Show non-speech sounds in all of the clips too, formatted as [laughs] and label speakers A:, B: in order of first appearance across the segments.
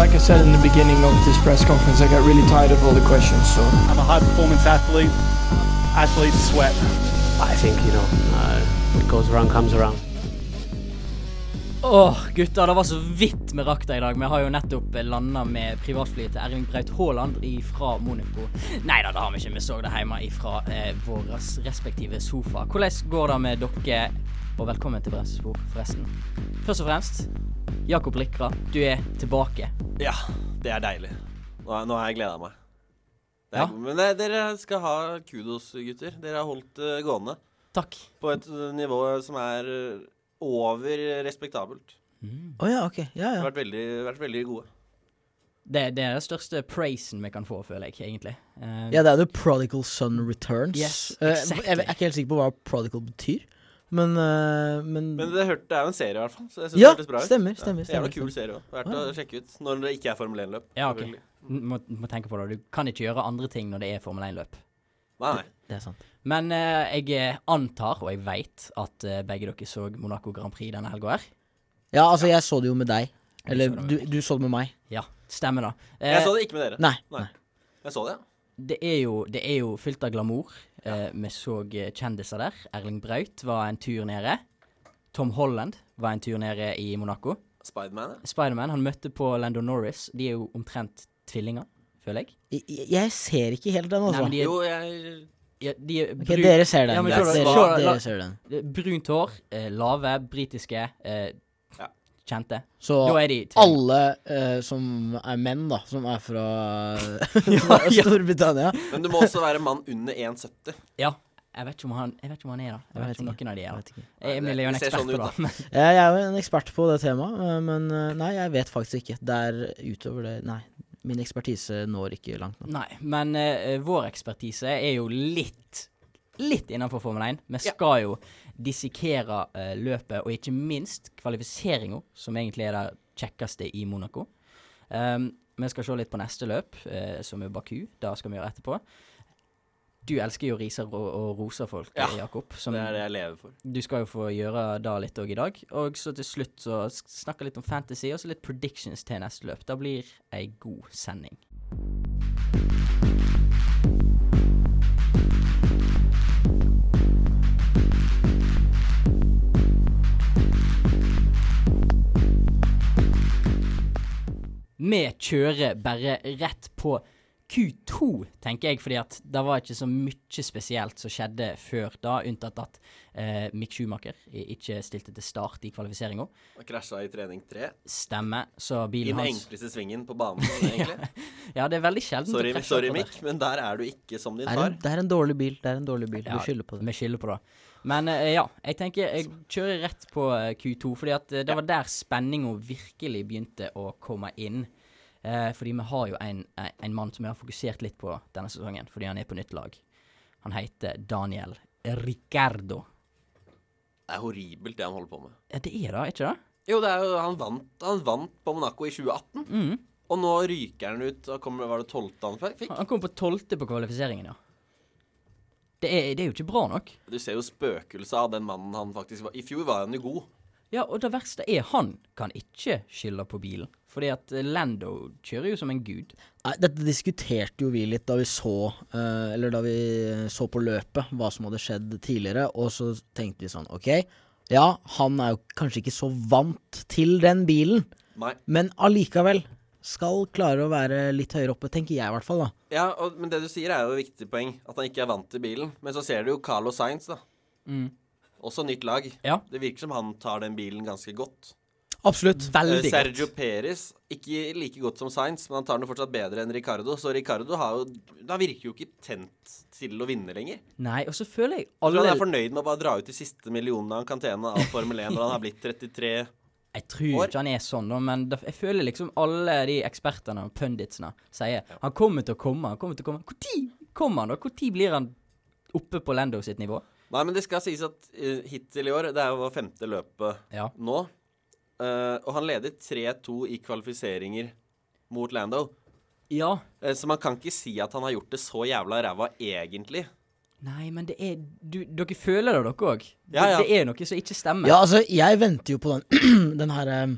A: I said in the beginning of this press conference, I got really tired of all the questions. So
B: I'm a high performance athlete. Athletes sweat.
C: I think, you know, uh, what goes around comes around.
D: Åh, gutter, det var så vidt vi rakk det i dag. Vi har jo nettopp landa med privatflyet til Erling Braut Haaland fra Monaco. Nei da, det har vi ikke. Vi så det hjemme ifra eh, våre respektive sofa. Hvordan går det med dere? Og velkommen til Bremsespor, forresten. Først og fremst, Jakob Likra, du er tilbake.
E: Ja, det er deilig. Nå, er- nå har jeg gleda meg. Det er,
D: Ja.
E: Men det, dere skal ha kudos, gutter. Dere har holdt det gående
D: Takk.
E: på et eh, nivå som er eh, over respektabelt.
F: Å ja, ok. Ja,
E: Dere
F: ja.
E: har vært veldig, vært veldig gode.
D: Det, det er den største praisen vi kan få, føler jeg, egentlig. Eh,
F: Ja, det er jo Prodigal Son Returns.
D: Yes,
F: Eh,
D: exactly.
F: Jeg er ikke helt sikker på hva prodigal betyr, men, eh, men,
E: Men det, hørte, det er jo en serie, i hvert fall. Så jeg synes
F: Ja,
E: det hørtes bra ut.
F: stemmer, stemmer,
E: Ja, jævla
F: stemmer,
E: kul serie også. Verdt å sjekke ut når det ikke er Formel 1-løp.
D: Ja, ok.
E: selvfølgelig.
D: må, må tenke på det. Du kan ikke gjøre andre ting når det er Formel 1-løp.
E: Nei, nei.
F: det er sant.
D: Men eh, jeg antar, og jeg veit, at eh, begge dere så Monaco Grand Prix denne helga her.
F: Ja, altså, jeg så det jo med deg.
D: Jeg
F: Eller
D: så det med
F: du, du så det med meg.
D: Ja, stemmer det. Eh,
E: Jeg så det ikke med dere.
F: Nei.
E: Nei.
F: nei.
E: Jeg så det, ja.
D: det, er jo, det er jo fylt av glamour. Eh, vi så eh, kjendiser der. Erling Braut var en tur nede. Tom Holland var en tur nede i Monaco.
E: Spiderman, ja.
D: Spiderman han møtte på Lando Norris. De er jo omtrent tvillinger, føler jeg.
F: Jeg- Jeg, jeg ser ikke helt den,
D: Nei,
F: altså.
D: men de er,
E: Jo, jeg
D: ja, de er
F: Ok,
D: brun-
F: dere ser den.
D: Ja, men
E: se
F: dere,
E: da,
F: dere,
D: se da, la-
F: dere ser den.
D: Brunt hår, eh, lave, britiske, eh,
E: Ja.
D: kjente.
F: Så
D: Da er de tvillinger.
F: alle eh, som er menn, da, som er fra, fra Storbritannia
E: Men du må også være mann under 1,70.
D: Ja. Jeg vet ikke om han, jeg vet ikke om han er da. Jeg,
F: Jeg
D: vet
F: vet
D: ikke om
F: ikke.
D: noen av de er
F: Jeg
D: da.
F: vet ikke.
E: Nei,
D: Emil
E: det-
D: er jo en
E: det ser
D: ekspert
E: sånn
D: på
E: ut,
D: det.
E: da.
D: men-
F: Eh, Jeg er jo en ekspert på det temaet, eh, men eh, nei, jeg vet faktisk ikke. Det er utover det Nei, min ekspertise når ikke langt nok.
D: Nei, men eh, vår ekspertise er jo litt Litt innenfor Formel 1. Vi skal jo dissekere eh, løpet, og ikke minst kvalifiseringa, som egentlig er det kjekkeste i Monaco. Um, vi skal se litt på neste løp, eh, som er Baku. Det skal vi gjøre etterpå. Du elsker jo riser og, og roser folk,
E: Ja,
D: eh, Jakob. Som
E: Det er det jeg lever for.
D: du skal jo få gjøre det litt òg i dag. Og så til slutt så s- snakke litt om fantasy og så litt predictions til neste løp. Det blir ei god sending. Vi kjører bare rett på Q2, tenker jeg, fordi at det var ikke så mye spesielt som skjedde før da, unntatt at eh, Mick Schumacher i- ikke stilte til start i kvalifiseringa.
E: Og Krasja i trening 3.
D: Stemmer, så
E: I
D: bilen
E: den
D: hans
E: enkleste svingen på banen, egentlig.
D: Ja, det er veldig sjelden
E: Sorry,
D: å treffe
E: sorry,
D: akkurat der.
E: Mikk, men der er du ikke som din
F: Det er, en,
E: far.
F: det er en dårlig bil. Det er en dårlig bil.
D: Ja,
F: Vi skylder på det.
D: Vi skylder på det. Men eh, ja, jeg tenker jeg kjører rett på eh, Q2, fordi at eh, det var der spenninga virkelig begynte å komme inn. Eh, fordi vi har jo en, en en mann som vi har fokusert litt på denne sesongen, fordi han er på nytt lag. Han heter Daniel Ricardo.
E: Det er horribelt, det han holder på med.
D: Ja, det er det, ikke det?
E: Jo, det er jo, han, vant, han vant på Monaco i 2018.
F: Mm.
E: Og nå ryker han ut. Og kommer, var det tolvte han fikk?
D: Han kom på tolvte på kvalifiseringen, ja. Det er, det er jo ikke bra nok.
E: Du ser jo spøkelset av den mannen han faktisk var. I fjor var han jo god.
D: Ja, og det verste er han kan ikke skylde på bilen. Fordi at eh, Lando kjører jo som en gud.
F: Nei, Dette diskuterte jo vi litt da vi så eh, Eller da vi så på løpet hva som hadde skjedd tidligere, og så tenkte vi sånn Ok, ja, han er jo kanskje ikke så vant til den bilen,
E: Nei.
F: men allikevel skal klare å være litt høyere oppe, tenker jeg i hvert fall, da.
E: Ja, og, Men det du sier, er jo et viktig poeng. At han ikke er vant til bilen. Men så ser du jo Carlo Sainz, da. Også nytt lag.
D: Ja.
E: Det virker som han tar den bilen ganske godt.
F: Absolutt.
E: Eh,
D: Veldig
E: Sergio
D: godt.
E: Perez, ikke like godt som Sainz, men han tar den fortsatt bedre enn Ricardo. Så Ricardo har jo, da virker jo ikke tent til å vinne lenger.
D: Nei, og så føler jeg
E: Tror du
D: alle
E: han er fornøyd med å bare dra ut de siste millionene han kan tjene av Formel 1 når han har blitt 33
D: Jeg tror ikke han er sånn, da, men da- jeg føler liksom alle de ekspertene og punditsene sier han kommer til å komme, han kommer til å komme. Når kommer han, da? Når blir han oppe på Lando sitt nivå?
E: Nei, men det skal sies at eh, hittil i år Det er jo femte løpet
D: Ja.
E: nå. Eh, og han leder 3-2 i kvalifiseringer mot Lando.
D: Ja.
E: Eh, så man kan ikke si at han har gjort det så jævla ræva egentlig.
D: Nei, men det er du, Dere føler det, dere òg.
E: Ja, ja.
D: Det er noe som ikke stemmer.
F: [clears throat] Ja, altså, jeg venter jo på den, den her eh,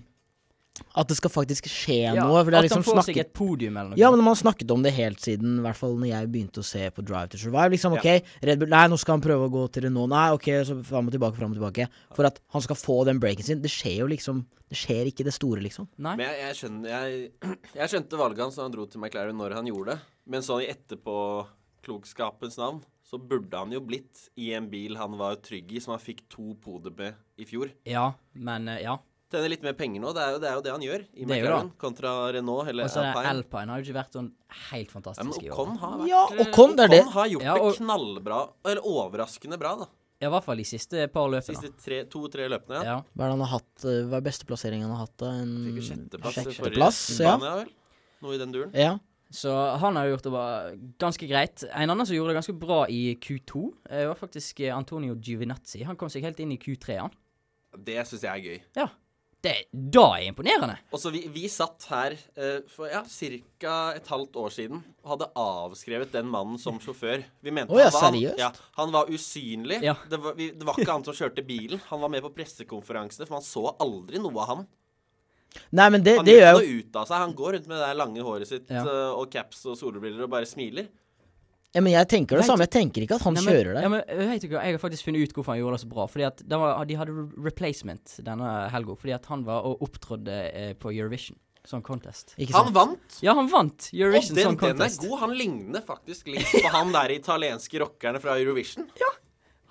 F: At det skal faktisk skje
D: Ja,
F: noe. For det er
D: at
F: liksom
D: han får seg
F: snakket
D: et podium eller noe.
F: Ja, men man har snakket om det helt siden, i hvert fall når jeg begynte å se på Drive to Survive. Liksom, ok, Red Bull, nei, nå skal han prøve å gå til Renault, nei, ok, så fram og tilbake, fram og tilbake. For at han skal få den breaken sin. Det skjer jo liksom Det skjer ikke det store, liksom.
D: Nei?
E: Men jeg, jeg, skjønner, jeg, jeg skjønte valget hans da han dro til McLaren når han gjorde det. Men sånn i etterpåklokskapens navn så burde han jo blitt i en bil han var trygg i, som han fikk to podier med i fjor.
D: Ja, men eh, ja.
E: Tjener litt mer penger nå. Det er jo det, er jo det han gjør i
D: Det gjør
E: McLaren kontra Renault eller
D: Og så
E: Alpine.
D: Alpine har jo ikke vært sånn helt
E: Ja, men
D: fantastisk i år.
E: Ocon har vært
F: Ja, Ocon, det er det.
E: Ocon Eh, har gjort
D: Ja, og-
E: det knallbra, eller overraskende bra, da.
D: Ja, I hvert fall de siste par løpene.
E: Siste tre- to-tre løpene.
D: Ja.
E: Ja.
F: Hva er det han har hatt, eh, hva er beste plasseringen han har hatt? da? En
E: Fikk jo sjetteplass, i forrige
F: Mm. sjetteplass, ja.
E: Spania, vel? Noe i den duren.
F: ja.
D: Så han har gjort det bare ganske greit. En annen som gjorde det ganske bra i Q2, eh, var faktisk eh, Antonio Giovinazzi. Han kom seg helt inn i Q3, han.
E: Det syns jeg er gøy.
D: Ja. Det, da er imponerende.
E: Og så vi, vi satt her eh, for ja, ca. et halvt år siden og hadde avskrevet den mannen som sjåfør. Vi mente
F: Å ja,
E: han,
F: seriøst?
E: var, ja, han var usynlig.
D: Ja.
E: Det, var, vi, det var ikke han som kjørte bilen. Han var med på pressekonferansene, for man så aldri noe av han.
F: Nei, men det,
E: Han
F: det
E: gjør
F: gjør
E: ikke
F: jeg jo
E: noe ut av seg. Han går rundt med det der lange håret sitt
D: Ja.
E: eh, og caps og solbriller og bare smiler.
F: ja, Men jeg tenker det
D: Vet-
F: samme. Jeg tenker ikke at han
D: Nei, men-
F: kjører
D: Ja,
F: der.
D: men eh, vet du hva, Jeg har faktisk funnet ut hvorfor han gjorde det så bra. Fordi at den var, De hadde re- replacement denne helga fordi at han var og opptrådde eh, på Eurovision Song Contest.
F: Ikke
E: Han
F: sant? sånn
E: vant,
D: Ja, han vant
E: og
D: Eurovision
E: den,
D: Song
E: den er
D: Contest.
E: god. Han ligner faktisk litt på han der italienske rockerne fra Eurovision.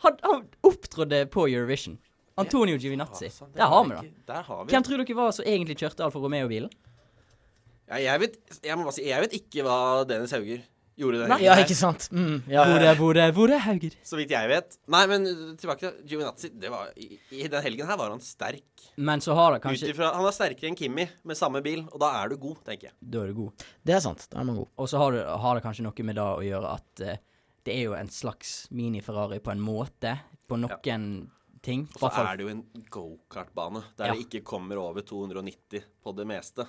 D: Han, han opptrådde på Eurovision. Antonio Giovinazzi.
E: Altså, det
D: Der har
E: er
D: vi det.
E: ikke- Der har vi det.
D: Hvem tror dere var som egentlig kjørte Alfa Romeo-bilen?
E: Ja, jeg, vet, jeg må bare si, jeg vet ikke hva Dennis Hauger gjorde den
F: Ja,
E: helgen her,
F: ikke sant. Mm, ja.
D: Hvor er, hvor er, hvor er Hauger?
E: Så vidt jeg vet. Nei, men uh, tilbake til Giovinazzi. Det var, i, I den helgen her var han sterk.
D: Men så har det kanskje
E: Utifra, han er sterkere enn Kimi med samme bil, og da er du god, tenker jeg.
D: Da er du god.
F: Det er sant. Da er man god.
D: Og så har, du, har det kanskje noe med det å gjøre at eh, det er jo en slags mini-Ferrari på en måte, på noen ting.
E: Og så
D: Hvertfall-
E: er det jo en gokartbane der
D: Ja.
E: det ikke kommer over 290 på det meste.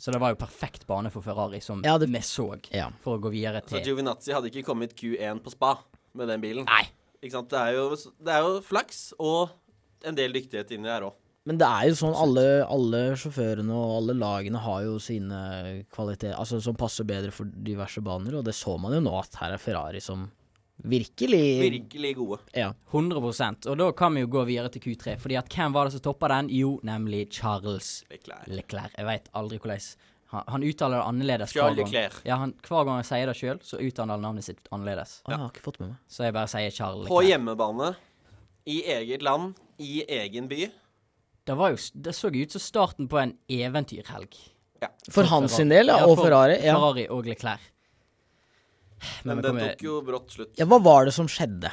D: Så det var jo perfekt bane for Ferrari, som
F: Ja, det-
D: vi så,
F: Ja.
D: for å gå videre
E: Så
D: til
E: Giovinazzi hadde ikke kommet Q1 på spa med den bilen.
D: Nei.
E: Ikke sant? Det, er jo, det er jo flaks og en del dyktighet inni der òg.
F: Men det er jo sånn alle, alle sjåførene og alle lagene har jo sine kvaliteter altså, som passer bedre for diverse baner, og det så man jo nå at her er Ferrari som virkelig
E: Virkelig gode.
F: Ja.
D: 100 Og da kan vi jo gå videre til Q3, fordi at hvem var det som toppa den? Jo, nemlig Charles
E: Leclerc.
D: Leclerc. Jeg veit aldri hvordan han, han uttaler det annerledes hver
E: Charles
D: gang.
E: Leclerc.
D: Ja, han, hver gang han sier det sjøl, så uttaler han navnet sitt annerledes.
F: Ah, jeg har ikke fått med meg.
D: Så jeg bare sier Charles
E: På
D: Leclerc.
E: hjemmebane, i eget land, i egen by.
D: Det, var jo, s- det så jo ut som starten på en eventyrhelg.
F: For hans sin del, ja, og
D: for
F: Ferrari. Ja.
D: Ferrari og Leclerc. Men
E: Men
D: vi
E: den
D: kommer-
E: tok jo brått slutt.
F: ja, hva var det som skjedde?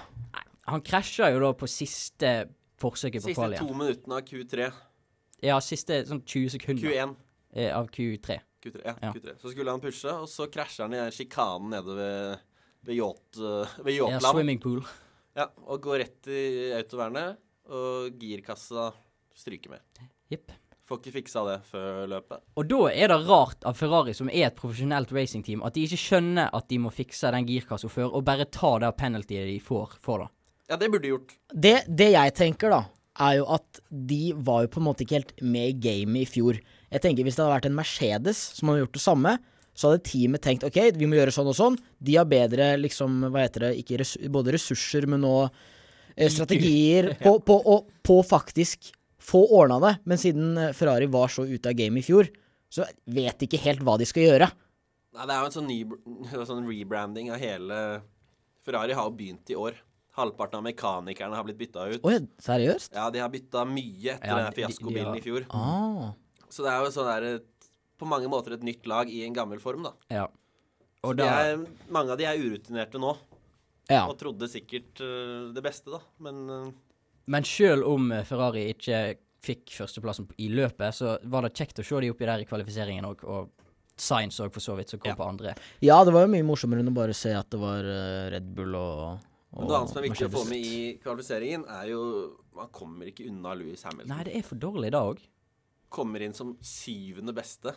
D: Han krasja jo da på siste forsøket på
E: Siste
D: kvalien.
E: to minuttene av Q3.
D: Ja, siste sånn 20 sekunder
E: Q1.
D: eh, av Q3.
E: Q3, ja,
D: Ja.
E: Q3. Så skulle han pushe, og så krasjer han i den sjikanen nede ved, ved, yacht, eh, ved
D: Ja,
E: Yachtland.
D: swimming pool.
E: Ja, og går rett i autovernet, og girkassa stryker med.
D: Jepp.
E: Får ikke fiksa det før løpet.
D: Og da er det rart av Ferrari, som er et profesjonelt racingteam, at de ikke skjønner at de må fikse den girkassa før, og bare ta det penaltyet de får for det.
E: Ja, det burde de gjort.
F: Det, det jeg tenker, da, er jo at de var jo på en måte ikke helt med i gamet i fjor. Jeg tenker Hvis det hadde vært en Mercedes som hadde gjort det samme, så hadde teamet tenkt ok, vi må gjøre sånn og sånn. De har bedre liksom, hva heter det, ikke res både ressurser, men òg eh, [laughs] strategier på, på, å, på faktisk få ordna det. Men siden eh, Ferrari var så ute av gamet i fjor, så vet de ikke helt hva de skal gjøre.
E: Nei, det er jo en sånn, ny, sånn rebranding av hele Ferrari har jo begynt i år. Halvparten av mekanikerne har blitt bytta ut.
F: Å ja, seriøst?
E: Ja, de har bytta mye etter
D: Ja,
E: den her
D: de- de- de
E: fiaskobilen
D: har-
E: i fjor.
F: Ah.
E: Så det er jo sånn der, et- på mange måter et nytt lag i en gammel form, da.
D: Ja. Og
E: De
D: da
E: er, mange av de er urutinerte nå,
F: Ja.
E: og trodde sikkert øh, det beste, da. Men øh,
D: Men sjøl om eh, Ferrari ikke fikk førsteplassen i løpet, så var det kjekt å se de oppi der i kvalifiseringen òg, og Science òg, for så vidt, som kom på andre.
F: Ja, det var jo mye morsommere enn å bare se at det var eh, Red Bull og, og
E: noe annet som er viktig å få
F: Mercedes.
E: med i kvalifiseringen, er jo Man kommer ikke unna Louis Hamilton.
D: Nei, det er for dårlig da òg.
E: Kommer inn som syvende beste.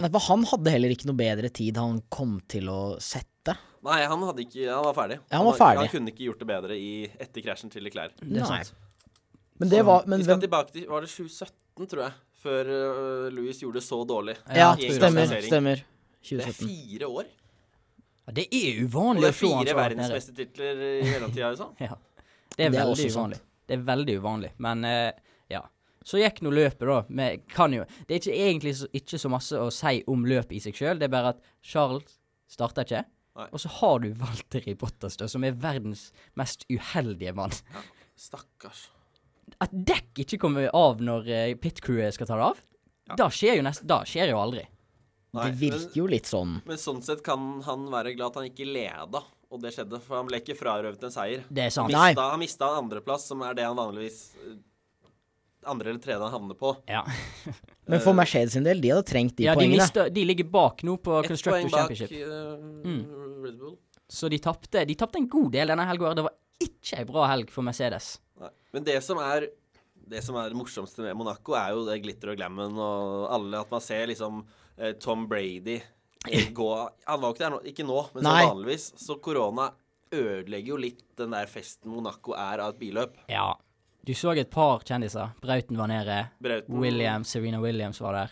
F: Nei, for han hadde heller ikke noe bedre tid han kom til å sette.
E: Nei, han hadde ikke Han var ferdig.
F: Ja, han var ferdig.
E: Han, kunne ikke gjort det bedre i, etter krasjen til Leclerc.
D: Det er
F: Nei.
D: sant.
F: Men det var men
E: Vi skal
F: hvem,
E: tilbake til Var det 2017, tror jeg? før eh, Louis gjorde det så dårlig.
F: Ja,
E: i en
F: stemmer.
E: klassifisering.
F: Stemmer.
E: Det er
F: 2017.
E: fire år,
D: Ja, det er
E: og
D: uvanlig å
E: det er
D: slå han
E: fire
D: så hardt nede.
E: verdensmestertitler i mellomtida. Liksom.
D: Ja. Det er
F: Det er
D: veldig
F: også sant.
D: uvanlig. Det er veldig uvanlig, men eh, ja. Så gikk nå løpet, da. Med, kan jo. Det er ikke egentlig så, ikke så masse å si om løpet i seg sjøl, det er bare at Charles starta ikke.
E: Nei.
D: Og så har du Valtteri Bottas, da, som er verdens mest uheldige mann.
E: Stakkars.
D: At dekk ikke kommer av når eh, pit-crewet skal ta det av, da skjer jo nest, da skjer jo aldri.
E: Nei,
F: Det
E: men,
F: virker jo litt sånn.
E: men sånn sett kan han være glad at han ikke leda, og det skjedde, for han ble ikke frarøvet en seier.
D: Det er sant.
F: Nei.
E: Mista, han mista en andreplass, som er det han vanligvis eh, andre eller tredje han havner på.
D: Ja.
F: Men
E: Eh,
F: for Mercedes sin del, de hadde trengt de
D: ja, de,
F: poengene.
D: mister, de ligger bak nå på
E: Ett
D: Constructor
E: poeng bak
D: Championship.
E: eh, Red Bull.
D: Så de tapte de tapte en god del denne helga. Det var ikke ei bra helg for Mercedes.
E: Nei. Men det som er det som er det morsomste med Monaco, er jo det glitter og glammen og alle At man ser liksom eh, Tom Brady gå [laughs] Han var jo ikke der nå, ikke nå, men
F: Nei.
E: som vanligvis. Så korona ødelegger jo litt den der festen Monaco er av et billøp.
D: Ja. Du så et par kjendiser. Brauten var nede.
E: Brauten
D: Williams, Serena Williams var der.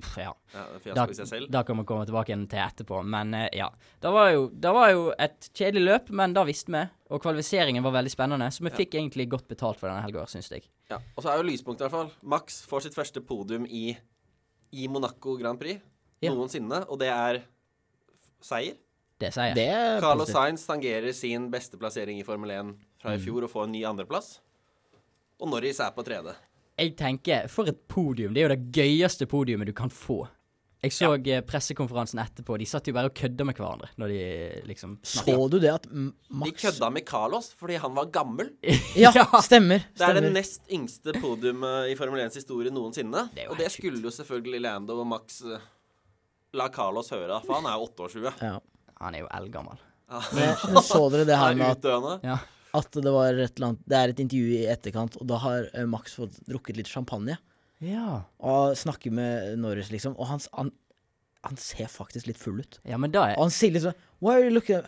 D: Pff, Ja.
E: ja, det er
D: Da,
E: Fiasko i seg selv.
D: da kan vi komme tilbake igjen til etterpå, men eh, ja. Det var, jo, det var jo et kjedelig løp, men da visste vi. Og kvalifiseringen var veldig spennende, så vi fikk egentlig godt betalt for denne helga, syns jeg.
E: Ja. Og så er jo lyspunktet, i hvert fall. Max får sitt første podium i, i Monaco Grand Prix
D: Ja.
E: noensinne, og det er seier.
D: Det sier jeg.
F: Det er
E: Carlos
F: positivt. Mm.
E: Sainz tangerer sin beste plassering i Formel 1 fra i fjor og får en ny andreplass. Og Norris er på tredje.
D: Jeg tenker, for et podium. Det er jo det gøyeste podiumet du kan få. Jeg så eh, pressekonferansen etterpå. De satt jo bare og kødda med hverandre når de liksom
F: Så du det at M-
E: De
F: Max
E: kødda med Carlos fordi han var gammel.
F: [laughs] Ja,
D: Ja.
F: stemmer.
E: Det er det
F: stemmer.
E: nest yngste podiumet i Formel 1s historie noensinne.
D: Det er jo
E: og det
D: helt sjukt.
E: skulle jo selvfølgelig Lando og Max eh, la Carlos høre, da, for han er jo 28.
F: Ja.
D: Han er jo eldgammel.
F: Men, men så dere det her
E: Han
F: med
E: er
F: at,
E: utdøende.
D: Ja.
F: at det var et eller annet Det er et intervju i etterkant, og da har eh, Max fått drukket litt champagne.
D: ja.
F: Og snakker med Norris, liksom, og han, s- han, han ser faktisk litt full ut.
D: Ja, men da er
F: Og han sier liksom Why are you looking at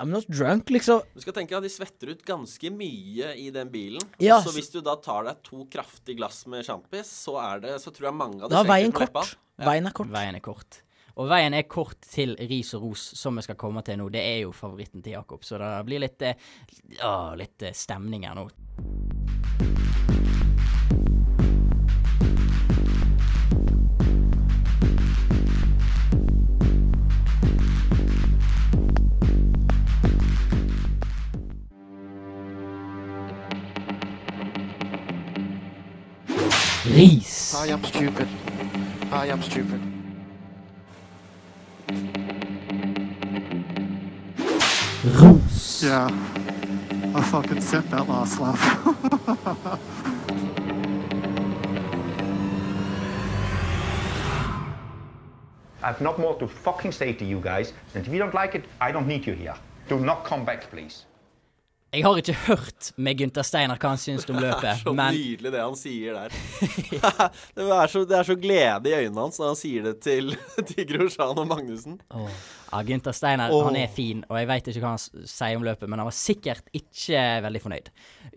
F: I'm not drunk, liksom.
E: Du skal tenke at De svetter ut ganske mye i den bilen.
F: Ja,
E: så
F: så-
E: hvis du da tar deg to kraftige glass med sjampis, så, er det- så tror jeg mange av
F: Da
E: det skjenker
F: er veien
E: ut med leppa.
F: kort. Veien er kort.
D: Veien er kort. Og veien er kort til ris og ros, som vi skal komme til nå. Det er jo favoritten til Jakob, så det blir litt, eh, å, litt eh, stemning her nå. Ris.
G: I am stupid. I am stupid. Roos. Yeah. I fucking sent that last laugh.
H: I've not more to fucking say to you guys, and if you don't like it, I don't need you here. Do not come back, please.
D: Jeg har ikke hørt med Gunther Steiner hva han syns
E: [laughs]
D: om løpet,
E: Så
D: men
E: nydelig det han sier
D: [laughs]
E: der. [laughs] det, er så, det er så glede i øynene hans når han sier det til, [laughs] til Grosjean og Magnussen.
D: ja, Gunther Steiner han er fin, og jeg vet ikke hva han s- sier om løpet, men han var sikkert ikke veldig fornøyd.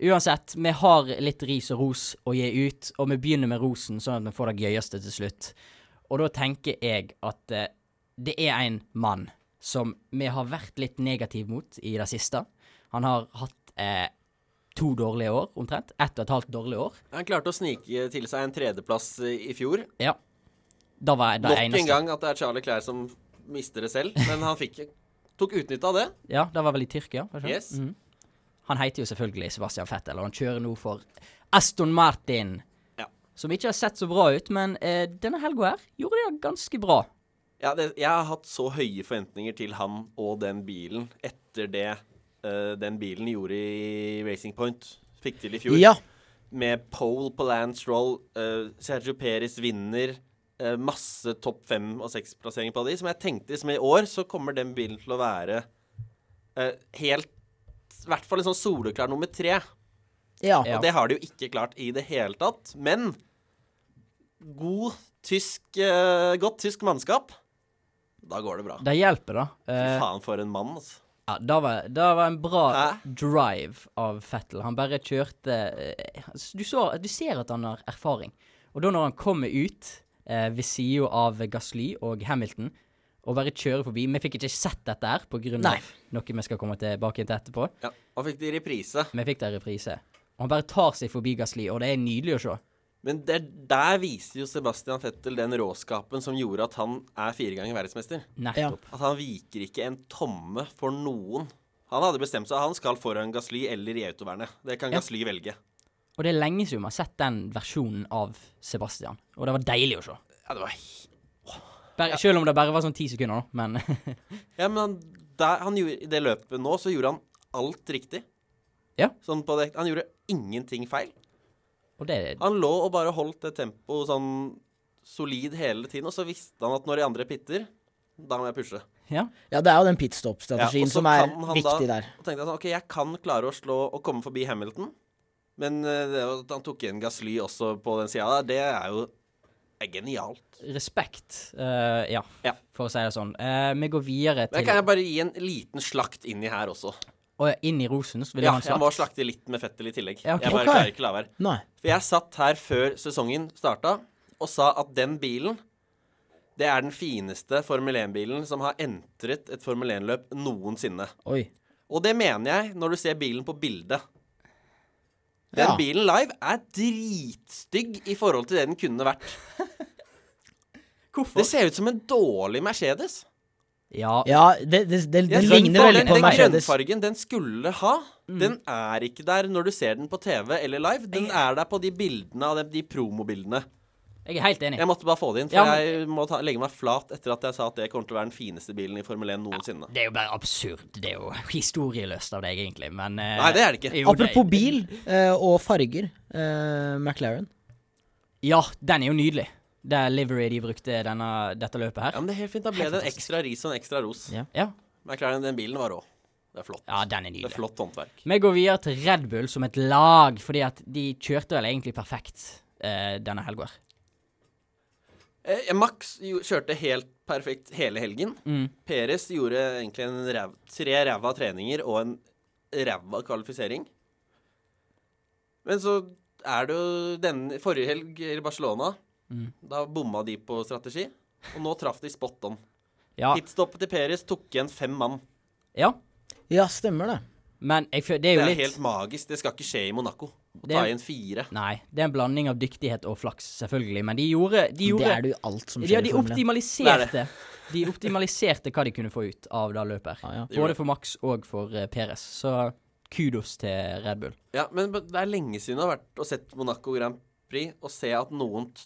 D: Uansett, vi har litt ris og ros å gi ut, og vi begynner med rosen, sånn at vi får det gøyeste til slutt. Og da tenker jeg at eh, det er en mann som vi har vært litt negativ mot i det siste. Han har hatt eh, to dårlige år, omtrent. Ett og et halvt dårlig år.
E: Han klarte å snike til seg en tredjeplass i i fjor.
D: Ja. Da var det
E: Nok en
D: eneste.
E: gang at det er Charlie Clair som mister det selv, men han fikk, tok utnytte av det.
D: Ja, Mhm. det var vel i Tyrkia? var det ikke?
E: Yes.
D: Han heter jo selvfølgelig Sebastian Vettel, og han kjører nå for Aston Martin.
E: Ja.
D: Som ikke har sett så bra ut, men eh, denne helga her gjorde de det ganske bra.
E: Ja, det, jeg har hatt så høye forventninger til han og den bilen etter det eh, den bilen gjorde i Racing Point. Fikk til i fjor.
F: Ja.
E: Med pole på Lance Stroll, eh, Sergio Perez vinner, eh, masse topp fem- og seksplasseringer på de. Som jeg tenkte som i år, så kommer den bilen til å være eh, helt I hvert fall en sånn soleklar nummer tre.
F: Ja.
D: Ja.
E: Og det har de jo ikke klart i det hele tatt. Men god tysk, eh, godt tysk mannskap, da går det bra.
D: Det hjelper, da.
E: Fy
D: Eh,
E: faen, for en mann, altså.
D: ja, det var, det var en bra
E: Hæ?
D: drive av Vettel. Han bare kjørte eh, Du, så, du ser at han har erfaring. Og da når han kommer ut eh, ved sida av Gasly og Hamilton, og bare kjører forbi Vi fikk ikke sett dette her på grunn av
F: Nei.
D: noe vi skal komme tilbake til etterpå.
E: Ja, han fikk det i reprise.
D: Vi fikk det i reprise. Og han bare tar seg forbi Gasly, og det er nydelig å se.
E: Men det, der viser jo Sebastian Fettel den råskapen som gjorde at han er fire ganger verdensmester.
F: Ja.
D: Nettopp.
E: At han viker ikke en tomme for noen. Han hadde bestemt seg. Han skal foran Gasly eller i autovernet. Det kan
D: Ja.
E: Gasly velge.
D: Og det er lenge siden vi har sett den versjonen av Sebastian, og det var deilig å se.
E: Ja, det var
D: Bare, Selv om det bare var sånn ti sekunder, da, men [laughs]
E: Ja, men han, der, han gjorde, i det løpet nå så gjorde han alt riktig.
D: Ja.
E: Sånn på det, han gjorde ingenting feil.
D: Og det
E: Han lå og bare holdt det tempoet sånn solid hele tiden, og så visste han at når de andre pitter, da må jeg pushe.
D: Ja.
F: Ja, det er jo den
E: Ja,
F: pitstop-strategien
E: og så
F: som er
E: kan han
F: viktig
E: da-
F: der.
E: Og tenkte jeg sånn, ok, jeg kan klare å slå og komme forbi Hamilton, men eh, det at han tok igjen Gasly også på den sida der, det er jo er genialt.
D: Respekt, eh, ja,
E: Ja.
D: for å si det sånn. Eh, vi går videre
E: Men
D: til
E: kan jeg bare gi en liten slakt inni her også?
D: Og inn i rosen, så vil jeg
E: Ja,
D: ha en
E: jeg må
D: slakt.
E: slakte litt med Fettel i tillegg.
D: Ja, ok.
E: Jeg bare
F: Ok.
E: klarer ikke la være.
F: Nei.
E: For jeg satt her før sesongen starta og sa at den bilen, det er den fineste Formel 1-bilen som har entret et Formel 1-løp noensinne.
F: Oi.
E: Og det mener jeg når du ser bilen på bildet. Den
F: Ja.
E: bilen live er dritstygg i forhold til det den kunne vært.
D: Hvorfor?
E: Det ser ut som en dårlig Mercedes.
D: Ja,
F: Ja, det, det, det, det
E: Jeg synes
F: ligner
E: bare
F: veldig
E: den,
F: på en
E: den
F: Mercedes.
E: grønnfargen den skulle ha, den er ikke der når du ser den på TV eller live. Den er der på de bildene av de, de promobildene.
D: jeg er helt enig.
E: Jeg måtte bare få det inn, for
D: Ja, men-
E: jeg må ta, legge meg flat etter at jeg sa at det kommer til å være den fineste bilen i Formel 1 noensinne.
D: Det er jo bare absurd. Det er jo historieløst av deg, egentlig, men eh,
E: [laughs] Nei, det er det ikke.
D: jo,
F: Apropos bil eh, og farger. eh, McLaren.
D: Ja, den er jo nydelig. Det er livery de brukte denne, dette løpet her.
E: Ja, men det er helt fint. Da ble det en ekstra ris og en ekstra ros.
F: Ja.
D: Ja.
E: McLaren, den bilen var rå. Det er flott.
D: ja, den er
E: Det er
D: nydelig.
E: flott håndverk.
D: Vi går videre til Red Bull som et lag, fordi at de kjørte vel egentlig perfekt eh, denne helga.
E: Eh, Max jo, kjørte helt perfekt hele helgen.
D: Mm.
E: Peres gjorde egentlig en ræv, tre ræva treninger og en ræva kvalifisering. Men så er det jo denne forrige helg i Barcelona.
D: Mm.
E: Da bomma de på strategi. Og nå traff de spot on.
D: Ja.
E: Pitstoppet til Peres tok igjen fem mann.
D: ja.
F: Ja, stemmer det.
D: Men jeg føler, det er
E: Det
D: jo
E: er
D: litt
E: helt magisk. Det skal ikke skje i Monaco. Å
D: Det er-
E: ta igjen fire.
D: Nei, det er en blanding av dyktighet og flaks, selvfølgelig. Men de gjorde, de
F: Det
D: gjorde
F: er det jo liksom, i alt som
D: Ja,
F: skjer
D: de
F: i Formel 1.
D: optimaliserte.
E: Det er
D: De optimaliserte hva de kunne få ut av det løpet her.
F: Ja, ja.
D: Både for Max og for eh, Perez. Så kudos til Red Bull.
E: Ja, men det er lenge siden jeg har vært og sett Monaco Grand Prix og se at noen t-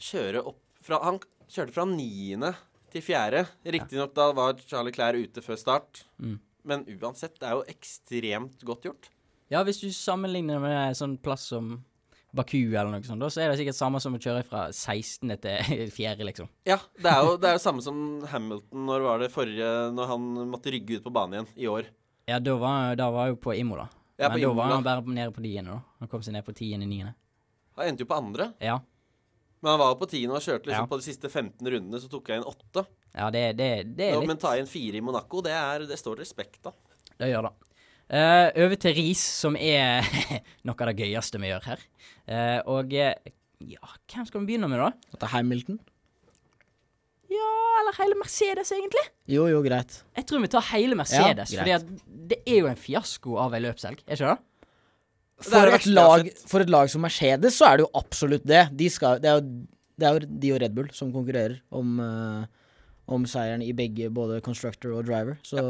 E: kjører opp fra Han k- kjørte fra niende til fjerde. Riktignok da var Charlie Clair ute før start,
D: Mm.
E: men uansett, det er jo ekstremt godt gjort.
D: Ja, hvis du sammenligner det med en sånn plass som Baku eller noe sånt, da, så er det sikkert samme som å kjøre fra 16. til [laughs] 4., liksom.
E: Ja, det er jo det er jo samme som Hamilton når var det forrige Når han måtte rygge ut på banen igjen i år.
D: Ja, da var, da var jo på Imola.
E: Ja,
D: Men
E: på
D: da var
E: Imola.
D: han bare nede på tiende, da. Han kom seg ned på tiende, niende.
E: Han endte jo på andre,
D: Ja.
E: men han var jo på tiende og kjørte
D: Ja.
E: liksom på de siste 15 rundene, så tok jeg inn åtte.
D: ja, det, det, det er
E: Ja,
D: litt
E: Men ta inn fire i Monaco, det, er, det står respekt av.
D: Det gjør det. Eh, over til ris, som er [laughs] noe av det gøyeste vi gjør her. Eh, og eh, ja, hvem skal vi begynne med, da?
F: At det er Hamilton.
D: Ja, eller hele Mercedes, egentlig.
F: Jo, jo, greit.
D: Jeg tror vi tar hele Mercedes,
F: Ja,
D: for
F: greit.
D: det er jo en fiasko av ei løpshelg, er ikke det?
E: Det er
F: For
E: det
F: et,
E: verste jeg har
F: lag, for et lag som Mercedes, så er det jo absolutt det. De skal, det, er jo, det er jo de og Red Bull som konkurrerer om, eh, om seieren i begge, både constructor og driver. Så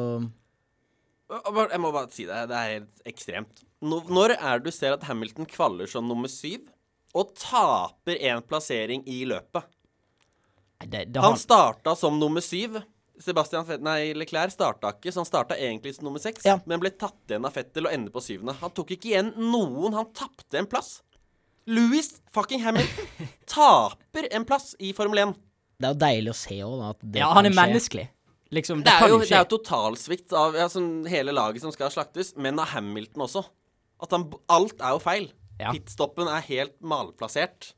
E: Og bare- Jeg må bare si det. Det er helt ekstremt. Nå- Når er det du ser at Hamilton kvaller som nummer syv og taper en plassering i løpet?
D: Nei, Det, det
E: Han
D: har,
E: starta som nummer syv. Sebastian Fett, nei, Leclerc starta ikke, så han starta egentlig som nummer seks,
F: Ja.
E: men ble tatt igjen av Fettel og ender på syvende. Han tok ikke igjen noen. Han tapte en plass. Louis fucking Hamilton taper en plass i Formel 1.
F: det er jo deilig å se òg, da. At det
D: ja, han
F: kan
D: er
F: skje.
D: menneskelig. Liksom, det,
E: Det er
D: kan
E: jo
D: jo
E: det
D: skje.
E: er jo totalsvikt av ja, sånn hele laget som skal slaktes, men av Hamilton også. At han, alt er jo feil.
D: Ja.
E: Pitstoppen er helt malplassert.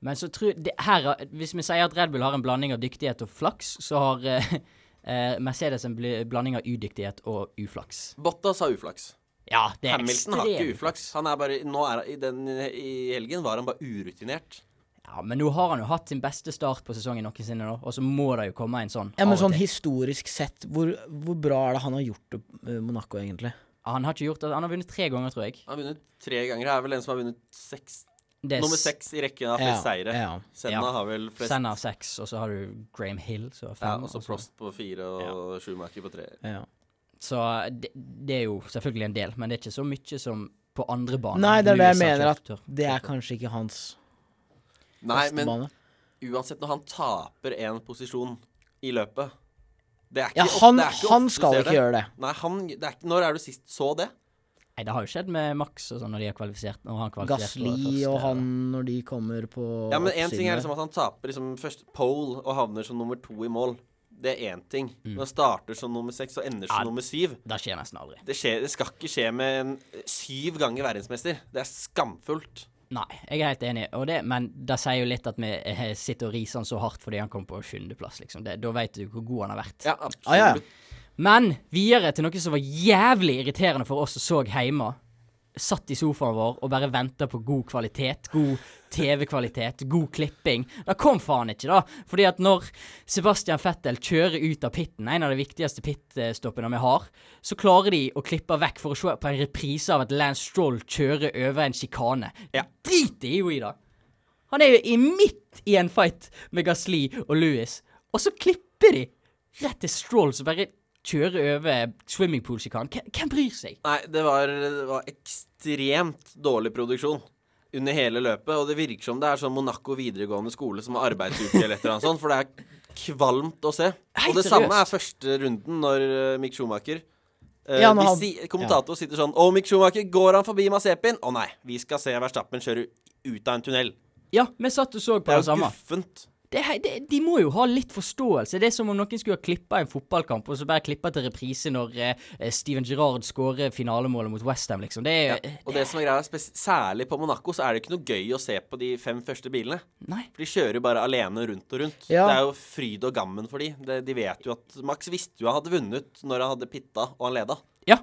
D: Men så tror det, her, er- Hvis vi sier at Red Bull har en blanding av dyktighet og flaks, så har eh, [laughs] eh, Mercedes en bl blanding av udyktighet og uflaks.
E: Bottas har uflaks.
D: Ja, det er
E: Hamilton har ikke
D: ekstremt.
E: uflaks. Han er bare, nå er, i, den, I helgen var han bare urutinert.
D: Ja, men nå har han jo hatt sin beste start på sesongen noensinne, da, og så må det jo komme en sånn.
F: Ja, men
D: av og
F: sånn
D: til.
F: historisk sett, hvor, hvor bra er det han har gjort det, eh, Monaco, egentlig?
D: han har ikke gjort det. Han har vunnet tre ganger, tror jeg.
E: Han har vunnet tre ganger. Her er vel en som har vunnet seks.
D: Det er
E: Nummer
D: s-
E: seks i rekken av flest
F: Ja,
E: seire.
F: ja.
E: Senna
D: Ja.
E: har vel flest.
D: Senna har seks, og så har du Graham Hill, som har
E: Ja,
D: fem.
E: og så
D: og så-
E: Prost på fire og Schumacher på tre.
F: Ja.
D: Så det, det er jo selvfølgelig en del, men det er ikke så mye som på andre baner.
F: Nei, det er det jeg
D: Lewis har
F: mener,
D: kjørt-
F: at det er kanskje ikke hans
E: Nei,
F: beste
E: men
F: bane.
E: uansett, når han taper en posisjon i løpet Det er ikke,
F: Ja,
E: ofte-
F: han,
E: det er ikke
F: han
E: ofte du
F: skal
E: ser
F: ikke gjøre det.
E: Nei, han, det er ikke, Når er du sist så det?
D: Nei, det har jo skjedd med Max og sånn når de har kvalifisert. Når han kvalifiserte på
F: Gasli
D: det første,
F: og han når de kommer på
E: Ja, men Én ting er
F: oppsiden
E: liksom at han taper liksom først pole og havner som nummer to i mål. Det er én ting.
F: Mm.
E: Når han starter som nummer seks og ender som
D: Ja.
E: nummer syv
D: Det skjer nesten aldri.
E: det, skjer, det skal ikke skje med en syv ganger verdensmester. Det er skamfullt.
D: Nei, jeg er helt enig, og det, men det sier jo litt at vi eh, sitter og riser han så hardt fordi han kom på sjuendeplass, liksom. Det, da vet du hvor god han har vært.
E: Ja,
F: Ah, ja.
E: absolutt.
D: Men videre til noe som var jævlig irriterende for oss som så hjemme. Satt i sofaen vår og bare venta på god kvalitet, god TV-kvalitet, god klipping. Det kom faen ikke, da. Fordi at når Sebastian Fettel kjører ut av pitten, en av de viktigste pitstoppene vi har, så klarer de å klippe vekk for å se på en reprise av at Lance Stroll kjører over en sjikane.
E: Ja.
D: Drit de jo i det! Han er jo i midt i en fight med Gasli og Lewis, og så klipper de rett til Stroll som bare kjører over swimmingpool-sjikanen. Hvem- Hvem bryr seg?
E: Nei, det var, det var ekstremt dårlig produksjon under hele løpet. Og det virker som det er sånn Monaco videregående skole som har arbeidsuke eller et eller annet sånt. For det er kvalmt å se.
D: Helt
E: og det samme
D: seriøst.
E: er første runden når eh, Mick Schumacher eh,
F: Ja, når
E: de
F: han-
E: si, Kommentator sitter sånn Å, Mick Schumacher, går han forbi Mazepin? Å nei, vi skal se Verstappen kjøre ut av en tunnel.
D: Ja, vi satt og så på
E: Det
D: det
E: er jo
D: samme.
E: guffent.
D: Det, er- det, de må jo ha litt forståelse. Det er som om noen skulle ha klippa en fotballkamp, og så bare klippa til reprise når eh, eh, Steven Gerrard skårer finalemålet mot Westham, liksom. Det er
E: Og Eh, det som er greia, er spes- særlig på Monaco, så er det ikke noe gøy å se på de fem første bilene.
D: Nei.
E: For de kjører jo bare alene rundt og rundt.
F: Ja.
E: Det er jo fryd og gammen for de. de. De vet jo at Max visste jo han hadde vunnet når han hadde pitta og han leda.
D: Ja.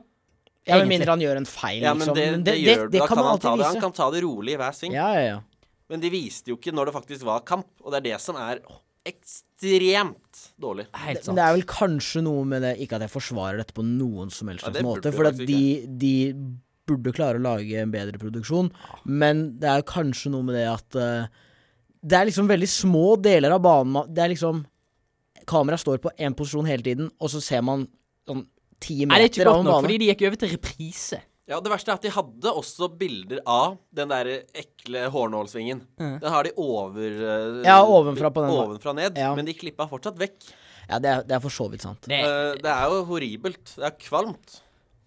F: Ja, med
D: egentlig.
F: mindre han gjør en feil,
E: Ja, men
F: liksom.
E: det, det, gjør du. Da kan han ta det. Han
F: vise.
E: kan ta det rolig i hver sving.
F: Ja, ja, ja.
E: Men de viste jo ikke når det faktisk var kamp, og det er det som er åh, ekstremt dårlig.
D: Helt
F: Men
D: sant.
F: det er vel kanskje noe med det Ikke at jeg forsvarer dette på noen som helst
E: Ja,
F: slags
E: det burde
F: måte,
E: du
F: for at
E: faktisk
F: de, de burde klare å lage en bedre produksjon,
D: Ah.
F: men det er kanskje noe med det at eh, Det er liksom veldig små deler av banen man- Det er liksom Kameraet står på én posisjon hele tiden, og så ser man sånn ti
D: Nei, det er ikke
F: meter av
D: godt
F: en
D: nok,
F: bane.
D: fordi de gikk over til reprise.
E: Ja, Det verste er at de hadde også bilder av den der ekle hårnålsvingen. Den har de over eh,
F: Mm. Ja, ovenfra på den, da.
E: Ovenfra ned,
F: Ja.
E: men de klippa fortsatt vekk.
F: Ja, det er, det er for så vidt sant.
D: Det,
E: Eh, det er jo horribelt. Det er kvalmt.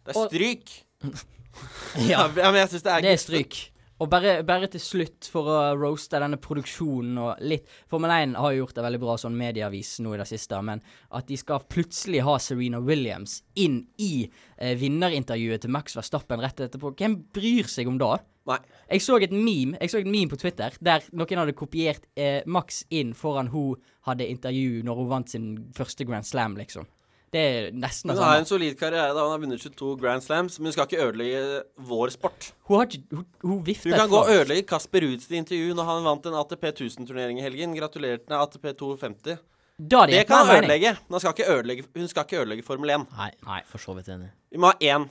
E: Det er
D: Og-
E: stryk.
D: [laughs] ja.
E: [laughs] ja, men jeg synes det er
D: Det er stryk. Og bare, bare til slutt, for å roaste denne produksjonen og litt Formel 1 har jo gjort det veldig bra sånn medieavis nå i det siste, men at de skal plutselig ha Serena Williams inn i eh, vinnerintervjuet til Max Verstappen rett etterpå. Hvem bryr seg om det?
E: Nei.
D: Jeg så et meme Jeg så et meme på Twitter der noen hadde kopiert eh, Max inn foran hun hadde intervju når hun vant sin første Grand Slam, liksom. Det er nesten det
E: Hun har
D: samme.
E: en solid karriere. da Hun har vunnet 22 Grand Slams, men hun skal ikke ødelegge vår sport.
D: Hun har ikke Hun, hun
E: Hun
D: vifter
E: kan gå og
D: fra-
E: ødelegge Kasper Ruuds intervju når han vant en ATP 1000-turnering i helgen. Gratulerer til ATP 250.
D: Da hadde
E: Det
D: jeg gitt
E: kan hun
D: meg mening.
E: ødelegge, men hun skal ikke ødelegge, hun skal ikke ødelegge Formel 1.
F: Nei, nei, for så vidt enig.
E: Vi må ha én.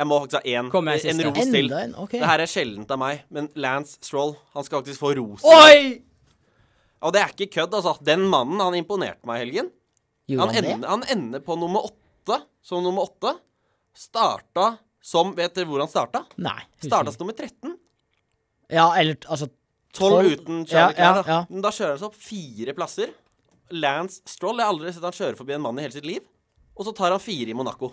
E: Jeg må faktisk ha én.
D: Kom med siste.
E: En ros til.
F: Enda en? Ok.
E: Det her er sjeldent av meg, men Lance Stroll han skal faktisk få ros.
D: Oi!
E: Og det er ikke kødd, altså. Den mannen han imponerte meg i helgen.
F: Gjorde
E: Han
F: han det?
E: ender, han ender på nummer åtte som nummer åtte. Starta som Vet dere hvor han starta?
F: Nei. husker
E: Starta
F: ikke.
E: som nummer 13.
F: Ja, eller altså
E: Tolv
F: Tolv.
E: uten
F: Ja,
E: Charlie
F: ja,
E: Clair. da.
F: ja.
E: Men Da kjører han seg opp fire plasser. Lance Stroll Jeg har aldri sett han kjøre forbi en mann i hele sitt liv. Og så tar han fire i Monaco.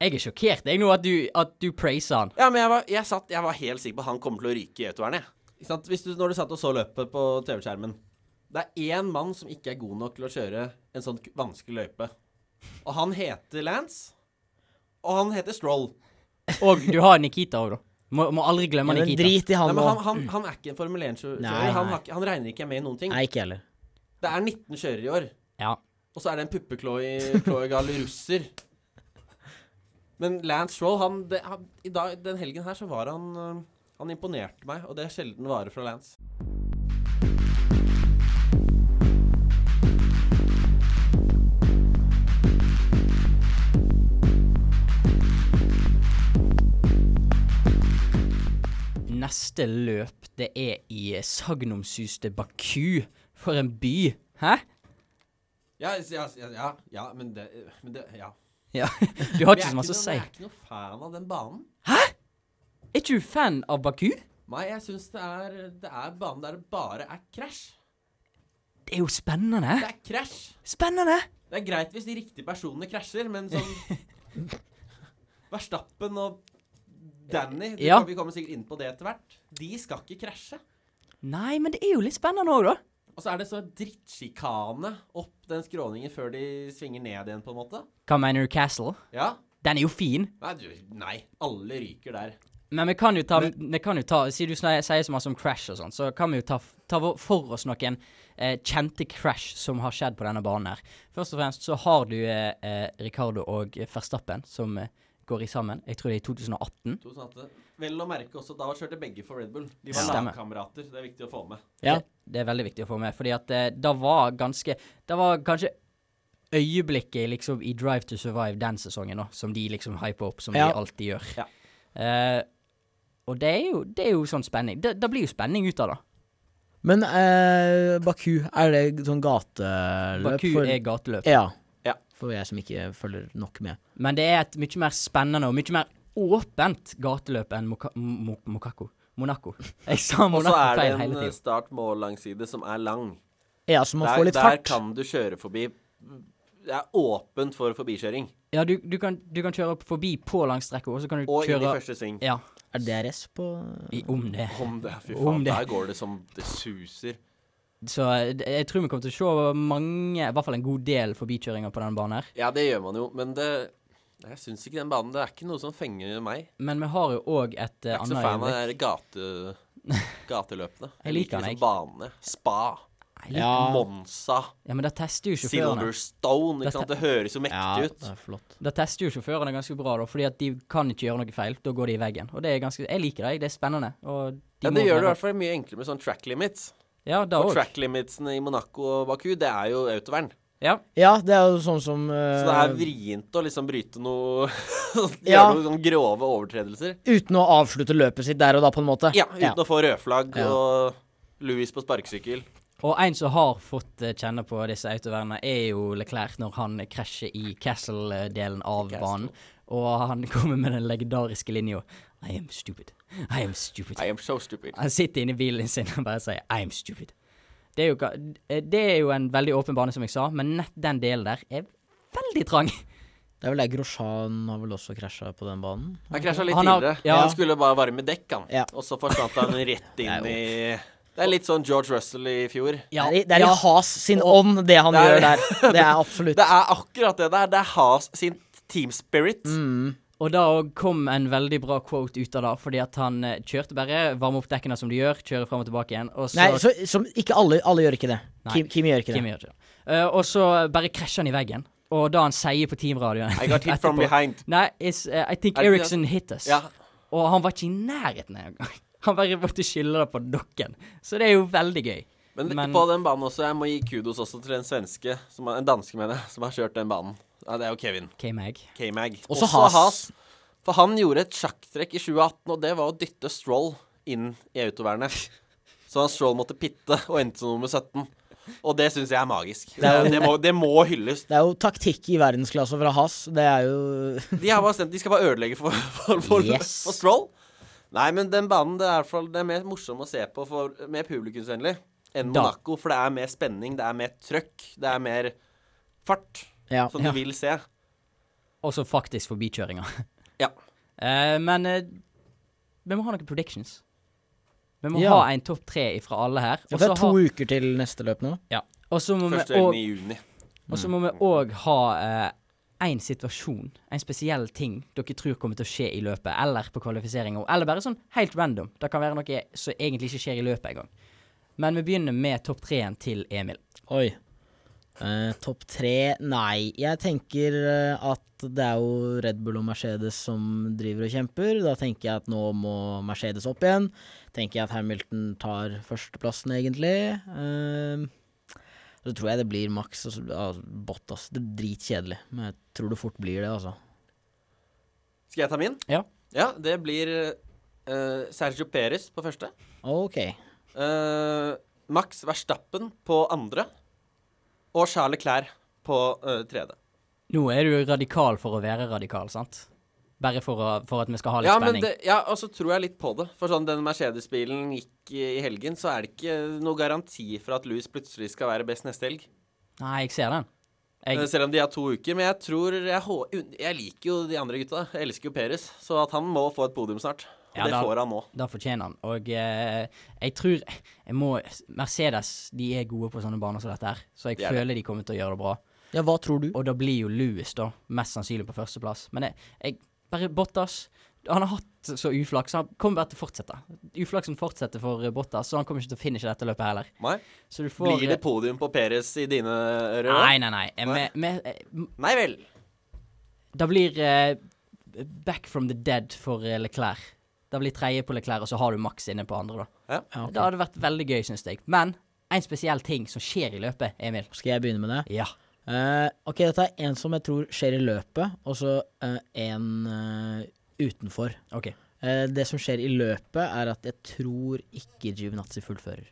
D: Jeg er sjokkert jeg nå at du, at du praiser han.
E: Ja, men jeg var, jeg, satt, jeg var helt sikker på at han kommer til å ryke i Etoeren, jeg. Ikke sant? Hvis du, når du satt og så løpet på TV-skjermen Det er én mann som ikke er god nok til å kjøre en sånn k- vanskelig løype. Og han heter Lance. Og han heter Stroll.
D: Og du har Nikita òg, da. Må, må aldri glemme
F: Men
D: Nikita.
F: drit i
E: Nei,
F: han
E: men
F: nå.
E: han, han, han er ikke en Formel 1-kjører.
F: Nei,
E: Han,
F: nei.
E: har ikke- han regner ikke med i noen ting.
F: Nei, ikke jeg heller.
E: Det er 19 kjørere i år,
D: Ja.
E: og så er det en puppeklåegal russer. Men Lance Stroll, han, det, eh, han i dag, den helgen her så var han øh, Han imponerte meg, og det er sjelden vare fra Lance.
D: Neste løp, det er i eh, sagnomsuste Baku. For en by! Hæ?
E: Ja, ja, ja, ja, ja men, det, men det Ja.
D: Ja, [laughs] Du har
E: Jeg
D: ikke
E: er
D: så masse å
E: noe-
D: si.
E: Jeg er ikke noe fan av den banen.
D: Er ikke du fan av Baku?
E: Nei, jeg syns det er Det er banen der det bare er krasj.
D: Det er jo spennende.
E: Det er krasj.
D: Spennende!
E: Det er greit hvis de riktige personene krasjer, men sånn
D: [laughs]
E: Verstappen og Danny, det
D: Ja.
E: kan vi kommer sikkert inn på det etter hvert, de skal ikke krasje.
D: Nei, men det er jo litt spennende òg, da.
E: Og så er det så drittsjikane opp den skråningen før de svinger ned igjen, på en måte.
D: Hva mener du, Castle?
E: Ja.
D: Den er jo fin.
E: Nei, du, nei. alle ryker der.
D: Men vi kan jo ta, vi kan jo ta Siden du sna- sier så masse om crash og sånn, så kan vi jo ta, f- ta vår- for oss noen eh, kjente crash som har skjedd på denne banen her. Først og fremst så har du eh, eh, Ricardo og Verstappen som eh, går i sammen. Jeg tror det er i 2018.
E: 2008. Vel å merke også, da kjørte begge for Red Bull. De var
D: Stemmer.
E: lagkamerater, det er viktig å få med.
F: Ja.
D: Det, det er veldig viktig å få med, fordi at eh, det var ganske Det var kanskje øyeblikket liksom i Drive to Survive den sesongen, da, som de liksom hyper opp, som
F: Ja.
D: de alltid gjør.
E: Ja.
D: Eh, og det er jo, det er jo sånn spenning. Det, det blir jo spenning ut av det.
F: Men eh, Baku, er det sånn gateløp?
D: Baku
F: for-
D: er gateløp.
F: ja.
E: Ja.
F: For jeg som ikke følger nok med.
D: Men det er et mye mer spennende og mye mer åpent gateløp enn Moka Mo Mokako. Monaco. Jeg sa
E: Og så
D: Monaco
E: er det
D: feil hele
E: en eh,
D: tiden.
E: start-mål-langside som er lang.
F: Ja, så man
E: der,
F: får litt
E: der
F: fart.
E: kan du kjøre forbi. Det er åpent for forbikjøring.
D: Ja, du, du, kan, du kan kjøre forbi på langstrekka, og så kan du
E: Og inn i
D: kjøre
E: første sving.
D: Ja,
F: Er det DRS på
D: i, om det.
E: Om det, fy
D: Om
E: faen.
D: det.
E: Der går det som det suser.
D: Så eh, d- jeg tror vi kommer til å se mange, i hvert fall en god del forbikjøringer på denne banen her.
E: Ja, det gjør man jo, men det Jeg syns ikke den banen Det er ikke noe som fenger meg.
D: Men vi har jo òg et
E: Jeg
D: eh,
E: er ikke så
D: annet
E: fan av de
D: øyeblikk.
E: der gate, gateløpene.
D: Jeg liker den,
E: liksom
D: jeg.
E: banene. Spa,
F: Ja,
E: Monza,
D: Ja, men da tester jo sjåførene.
E: Silverstone.
D: Dette-
E: Ikke sant? Det høres jo
F: ja
E: mektig ut.
F: det er flott.
D: Da tester jo sjåførene ganske bra, da, fordi at de kan ikke gjøre noe feil. Da går de i veggen. Og det er ganske Jeg liker det. jeg. Det er spennende. Og de
E: Ja,
D: må
E: det gjør det i
D: prøve.
E: hvert fall mye enklere med sånn track limits.
D: Ja, da
E: Og
D: òg.
E: track limitsene i Monaco og Baku, det er jo autovern.
D: Ja.
F: Ja, det er jo sånn som eh,
E: Så det er vrient å liksom bryte noe [laughs] Gjøre
F: Ja.
E: noen sånn grove overtredelser.
F: Uten å avslutte løpet sitt der og da, på en måte.
E: Ja, uten å få rødflagg
F: Ja.
E: og Louis på sparkesykkel.
D: Og en som har fått eh, kjenne på disse autovernene, er jo Leclerc når han krasjer i Castle-delen av banen. Og han [laughs] kommer med den legendariske linja I am stupid. I am stupid.
E: I am so stupid.
D: Han sitter inne i bilen sin og bare sier I am stupid. Det er jo, ga- eh, det er jo en veldig åpen bane, som jeg sa, men nett den delen der er veldig trang.
F: Det er vel der Grosjean har vel også krasja på den banen?
E: Han krasja litt
D: Han har-
E: tidligere.
D: ja.
E: Han skulle bare varme dekk, han.
F: Ja.
E: Og så forsvant han rett inn i Det er litt sånn George Russell i fjor.
F: Det
D: [laughs]
F: er, i- det er i Has sin ånd, det han
E: Det er-
F: gjør
E: [laughs]
F: der. Det er absolutt.
E: Det er akkurat det der. Det er Has sin team spirit.
D: Og da òg kom en veldig bra quote ut av det, fordi at han eh, kjørte bare, varme opp dekkene som de gjør, kjører fram og tilbake igjen, og så
F: Nei, så, som, ikke alle, alle gjør ikke det.
D: Nei.
F: Kim, Kim gjør ikke det.
D: Kim gjør ikke det. Eh, og så bare krasjer han i veggen. Og da han sier på teamradioen
E: [laughs] I got hit from
D: etterpå,
E: behind.
D: Nei, it's, eh, I think
E: Er det ikke
D: Eriksen hit us.
E: Ja.
D: Og han var ikke i nærheten engang. [laughs] Han bare måtte skylde det på dokken. Så det er jo veldig gøy.
E: Men,
D: Men-
E: på den banen også, jeg må gi kudos også til en svenske, som har, en danske, mener jeg, som har kjørt den banen. Ja, det er jo Kevin.
D: K-Mag.
E: K-Mag.
F: Også Haas.
E: For han gjorde et sjakktrekk i 2018, og det var å dytte Stroll inn i autovernet. Så han Stroll måtte pitte og endte som nummer 17. Og det syns jeg er magisk. Det,
F: er jo-
E: må, det må hylles.
F: Det er jo taktikk i verdensklasse fra Has. Det er jo [laughs]
E: De, har bare stemt, de skal bare ødelegge for, for, for,
F: Yes.
E: for Stroll. Nei, men den banen det er, i hvert fall- det er mer morsom å se på, for, mer publikumsvennlig, enn
D: Da.
E: Monaco. For det er mer spenning, det er mer trøkk, det er mer fart,
F: Ja.
E: som du vil se.
D: Og så faktisk forbikjøringer.
E: Ja.
D: [laughs] Eh, men eh, vi må ha noen predictions. Vi må
F: Ja.
D: ha en topp tre fra alle her.
F: Ja,
D: Og
F: Det
D: så
F: er to
D: ha-
F: uker til neste løp nå.
D: ja. Og så må vi
E: Første
D: og-
E: øyne i juni.
D: Og
E: Mm.
D: så må vi òg ha én situasjon, en spesiell ting dere tror kommer til å skje i løpet, eller på kvalifiseringa, eller bare sånn helt random. Det kan være noe som egentlig ikke skjer i løpet engang. Men vi begynner med topp treen til Emil.
F: Oi. Eh, Topp tre? Nei. Jeg tenker eh, at det er jo Red Bull og Mercedes som driver og kjemper. Da tenker jeg at nå må Mercedes opp igjen. Tenker jeg at Hamilton tar førsteplassen, egentlig. Eh, så tror jeg det blir Max og så- ja, Bottas. Det er dritkjedelig, men jeg tror det fort blir det, altså.
E: Skal jeg ta min?
D: Ja.
E: Ja, det blir eh, Sergio Perez på første.
F: OK.
E: Eh, Max Verstappen på andre. Og Charles Leclerc på eh, tredje.
D: Nå er du radikal for å være radikal, sant? Bare for, å, for at vi skal ha litt
E: Ja, men
D: spenning.
E: det, ja, og så tror jeg litt på det. For sånn den Mercedes-bilen gikk i i helgen, så er det ikke noe garanti for at Louis plutselig skal være best neste helg.
D: Nei, jeg ser den.
E: Eh,
D: Jeg,
E: Selv om de har to uker. Men jeg tror jeg, hå- jeg liker jo de andre gutta. Jeg elsker jo Peres. Så at han må få et podium snart. Og
D: Ja,
E: det
D: da-
E: får han nå.
D: da fortjener han. Og eh, jeg tror jeg må, Mercedes de er gode på sånne baner som dette her, så jeg
E: De er det.
D: føler de kommer til å gjøre det bra.
F: Ja, hva tror du?
D: Og da blir jo Lewis da mest sannsynlig på førsteplass. Men jeg, jeg bare Bottas Han har hatt så uflaks. Han kommer bare til å fortsette. Uflaksen fortsetter for eh, Bottas, så han kommer ikke til å finishe dette løpet heller.
E: Nei.
D: Så du får
E: Blir det podium på Peres i dine ører?
D: Nei, nei, nei. Eh,
E: Nei.
D: med- med- eh,
E: Nei vel.
D: Da blir eh, Back from the dead for eh, Leclerc. Da blir tredje på Leclerc, og så har du Max inne på andre. da.
E: Ja.
F: Ja, ok.
D: Da hadde det vært veldig gøy, syns jeg. Men en spesiell ting som skjer i løpet, Emil.
F: Skal jeg begynne med det?
D: Ja.
F: Eh, ok, dette er en som jeg tror skjer i løpet, og så eh, en eh, utenfor.
D: OK.
F: Eh, det som skjer i løpet, er at jeg tror ikke Giovinazzi fullfører.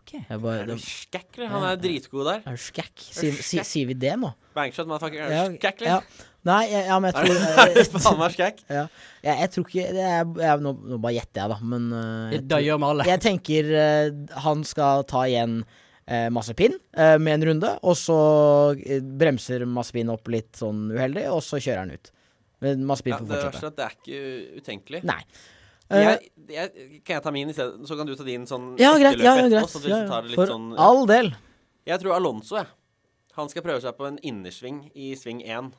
D: Ok.
F: Jeg bare,
E: Er du
F: det,
E: skækk, eller? Han er dritgod der.
F: er du skækk? Sier, sier, sier vi det nå?
E: Bankshot, motherfucker. Er du skækk,
F: ja.
E: eller?
F: Nei, jeg, ja, men
E: [laughs]
F: jeg
E: Er du,
F: tror
E: er du
F: eh,
E: [laughs] faen meg skækk?
F: ja. jeg, jeg tror ikke det er, jeg, nå, nå bare gjetter jeg, da, men eh, jeg,
D: Da gjør vi alle.
F: tror- jeg tenker eh, han skal ta igjen eh, Mazepin eh, med en runde, og så eh, bremser Mazepin opp litt sånn uheldig, og så kjører han ut. Men Mazepin
E: Ja,
F: får
E: det verste
F: fortsette.
E: er at det er ikke utenkelig.
F: Nei. Eh,
E: Jeg, jeg, kan jeg ta min i stedet? Så kan du ta din sånn
F: Ja,
E: ekte
F: greit.
E: løp
F: Ja, ja,
E: etterpå,
F: greit.
E: så du
F: Ja,
E: liksom
F: ja.
E: tar det litt
F: For
E: sånn-
F: all del.
E: Jeg tror Alonso, jeg. Han skal prøve seg på en innersving i sving 1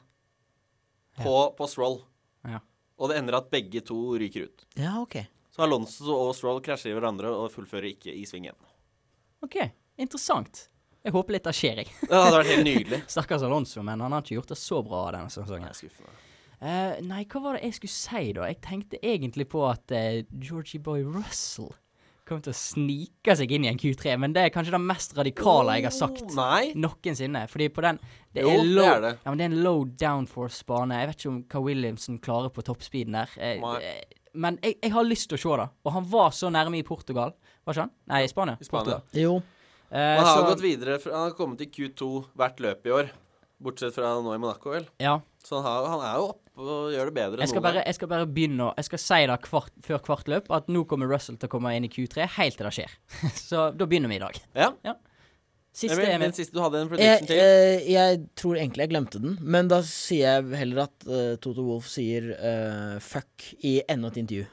E: på, på Stroll.
D: Ja.
E: Og det ender at begge to ryker ut.
F: Ja, ok.
E: Så Alonso og Stroll krasjer i hverandre og fullfører ikke i sving 1.
D: Ok, Interessant. Jeg håper litt av skjer, jeg.
E: Det hadde vært helt nydelig.
D: Stakkars Alonso, men han har ikke gjort det så bra denne sesongen.
E: Det er skuffende.
D: Eh, nei, hva var det jeg skulle si, da? Jeg tenkte egentlig på at eh, Georgie Boy Russell kom til å snike seg inn i en Q3, men det er kanskje det mest radikale jeg har sagt
E: Oh, nei.
D: noensinne. Fordi på den det er
E: Jo, det
D: low,
E: er det.
D: Ja, men det er en low downforce-bane. Jeg vet ikke om hva Williamson klarer på toppspeeden der. Eh,
E: Nei.
D: eh, men jeg, jeg har lyst til å se det. Og han var så nærme i Portugal. Var ikke han? Nei, i Spania.
E: I Spania.
D: Portugal.
F: Jo.
D: Eh,
E: Han har
D: så-
E: gått videre. fra- Han har kommet til Q2 hvert løp i år. Bortsett fra nå i Monaco, vel.
D: ja.
E: Så han, har, han er jo oppe og gjør det bedre. enn
D: Jeg skal,
E: noen
D: bare, jeg skal bare begynne å Jeg skal si det kvart, før hvert løp at nå kommer Russell til å komme inn i Q3 helt til det skjer. [laughs] Så da begynner vi i dag.
E: gang. Ja.
D: Siste
E: Emil,
D: Emil.
E: den siste du hadde en
F: Jeg,
E: prediction til.
F: eh, jeg tror egentlig jeg glemte den, men da sier jeg heller at eh, Toto Wolff sier eh, fuck i enda et intervju.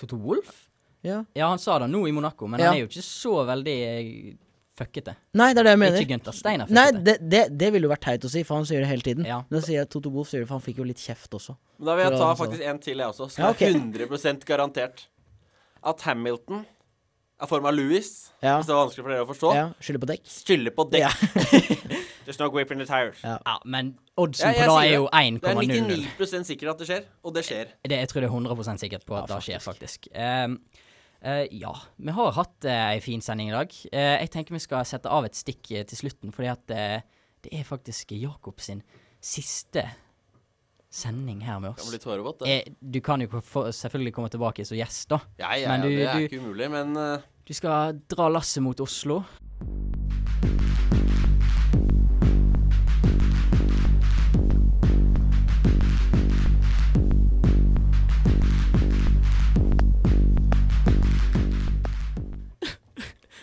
D: Toto Wolff?
F: Ja.
D: Ja, han sa det nå i Monaco, men
F: Ja.
D: han er jo ikke så veldig eh, fuckete.
F: Nei, det er det jeg mener.
D: Ikke Gunther Steiner
F: Nei,
D: fuckete.
F: det, det, det ville jo vært teit å si, for han sier det hele tiden.
D: Ja.
F: Men da sier jeg at Toto Wolff sier det, for han fikk jo litt kjeft også.
E: Men da vil jeg
F: Bra,
E: ta
F: han sa
E: faktisk en til, jeg også, som
F: Ja, ok.
E: er 100 garantert. At Hamilton er form av Louis,
F: Ja.
E: hvis det var vanskelig for dere å forstå,
F: Ja, Skylder på dekk.
E: skylder på dekk. [laughs] There's no grip in the tires.
F: Ja.
D: Ja, men
E: Ja,
D: oddsen
E: jeg
D: på det
E: sier
D: er jo
E: Det er
D: 1,00.
E: 99 sikkert at det skjer, og det skjer.
D: Det- Jeg tror det er 100 sikkert på at det skjer, faktisk. Ehm, eh, ja, vi har hatt eh, ei fin sending i dag. Eh, jeg tenker vi skal sette av et stikk eh, til slutten, fordi at eh, det er faktisk Jakob sin siste sending her med
E: Det
D: oss.
E: kan bli tårevått, det.
D: Eh, du kan jo få- selvfølgelig komme tilbake som gjest, da.
E: Ja, ja, ja,
D: Men du-
E: det er
D: du-
E: ikke umulig, men eh,
D: Du skal dra lasset mot Oslo.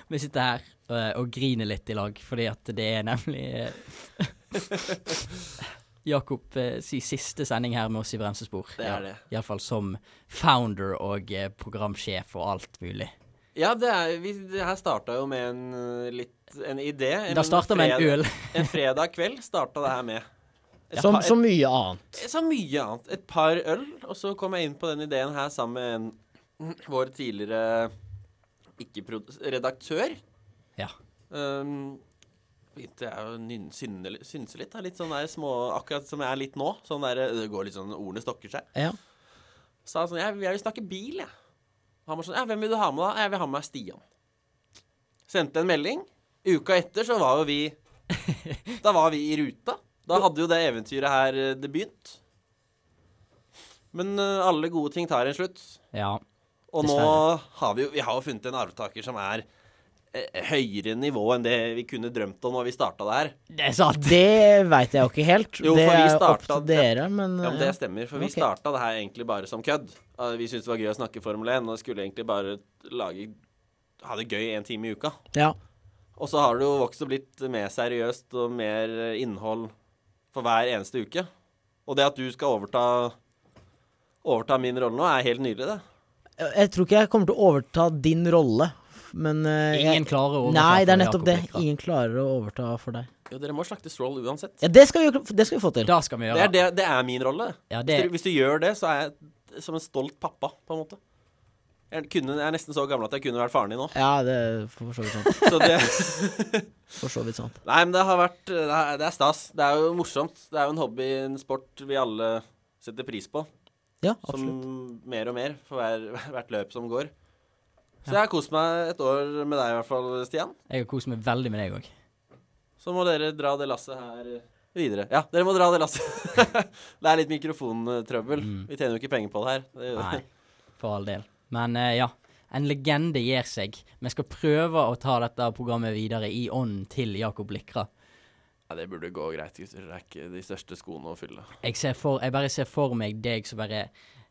D: Vi sitter her eh, og griner litt i lag, fordi at det er nemlig eh, [laughs] Jakob eh, sin siste sending her med oss i Bremsespor.
E: Det er det.
D: Iallfall som founder og eh, programsjef og alt mulig.
E: Ja, det, er, vi, det her starta jo med en eh, litt en idé. En
D: Da starter vi en
E: fredag-
D: øl. [laughs]
E: en fredag kveld starta det her med. Et
F: Som
E: par-
F: så mye annet.
E: Så mye annet. Et par øl, og så kom jeg inn på den ideen her sammen med en, mm, vår tidligere ikke-redaktør.
D: Ja.
E: Um, Litt, jeg er jo nyn- synne- synser litt. da. Litt sånn der små, akkurat som jeg er litt nå. Sånn der, det går litt sånn, Ordene stokker seg.
F: Ja.
E: Så han sånn, jeg, jeg vil snakke bil, jeg. Og Han var sånn, ja, hvem vil du ha med da? Jeg vil ha med meg Stian. Sendte en melding. Uka etter så var jo vi Da var vi i ruta. Da hadde jo det eventyret her eh, det begynt. Men eh, alle gode ting tar en slutt.
D: Ja.
E: Og nå
D: Dessverre.
E: har vi jo vi har jo funnet en arvtaker som er eh, høyere nivå enn det vi kunne drømt om når vi starta det her.
D: Det er sant.
F: Det veit jeg jo ikke helt.
E: Jo,
F: det
E: for vi
F: er jo opp
E: starta-
F: til dere, men eh,
E: Ja, men
F: ja.
E: Det stemmer, for vi
F: Ok.
E: starta det her egentlig bare som kødd. Eh, Vi syntes det var gøy å snakke Formel 1, og skulle egentlig bare lage ha det gøy en time i uka.
F: ja.
E: Og så har det jo vokst og blitt mer seriøst og mer eh, innhold for hver eneste uke. Og det at du skal overta Overta min rolle nå, er helt nydelig, det.
F: Jeg jeg tror ikke jeg kommer til å overta din rolle, men eh,
D: Ingen
F: jeg,
D: klarer å overta
F: Nei, det
D: for
F: er nettopp
D: Jakob
F: det.
D: Ekra.
F: Ingen klarer å overta for deg.
E: Jo, dere må slakte Stroll uansett.
F: Ja, det skal vi, jo- det skal vi få til.
D: Da skal vi
E: Det
D: gjøre
E: er, det, det er min rolle.
D: Ja,
E: Hvis, du,
D: det,
E: hvis du gjør det, så er jeg som en stolt pappa, på en måte. Jeg, kunne, jeg er nesten så gammel at jeg kunne vært faren din nå.
F: Ja, det er for så vidt sant.
E: Så det
F: For så vidt sant.
E: Nei, men det har vært Det er, det er stas. Det er jo morsomt. Det er jo en hobby, en sport vi alle setter pris på.
F: Ja,
E: Som
F: absolutt.
E: mer og mer for hver, [laughs] hvert løp som går. Så jeg har kost meg et år med deg i hvert fall, Stian.
D: jeg har kost meg veldig med deg òg.
E: Så må dere dra det lasset her videre. Ja, dere må dra det lasset. [laughs] det er litt mikrofontrøbbel.
F: Mm.
E: Vi tjener jo ikke penger på det her. Det gjør-
D: Nei, for all del. Men eh, ja. En legende gir seg. Vi skal prøve å ta dette programmet videre i ånden til Jakob Likra.
E: [laughs] Ja, det burde gå greit, gutter. Det er ikke de største skoene å fylle.
D: Jeg, ser for, jeg bare ser for meg deg som bare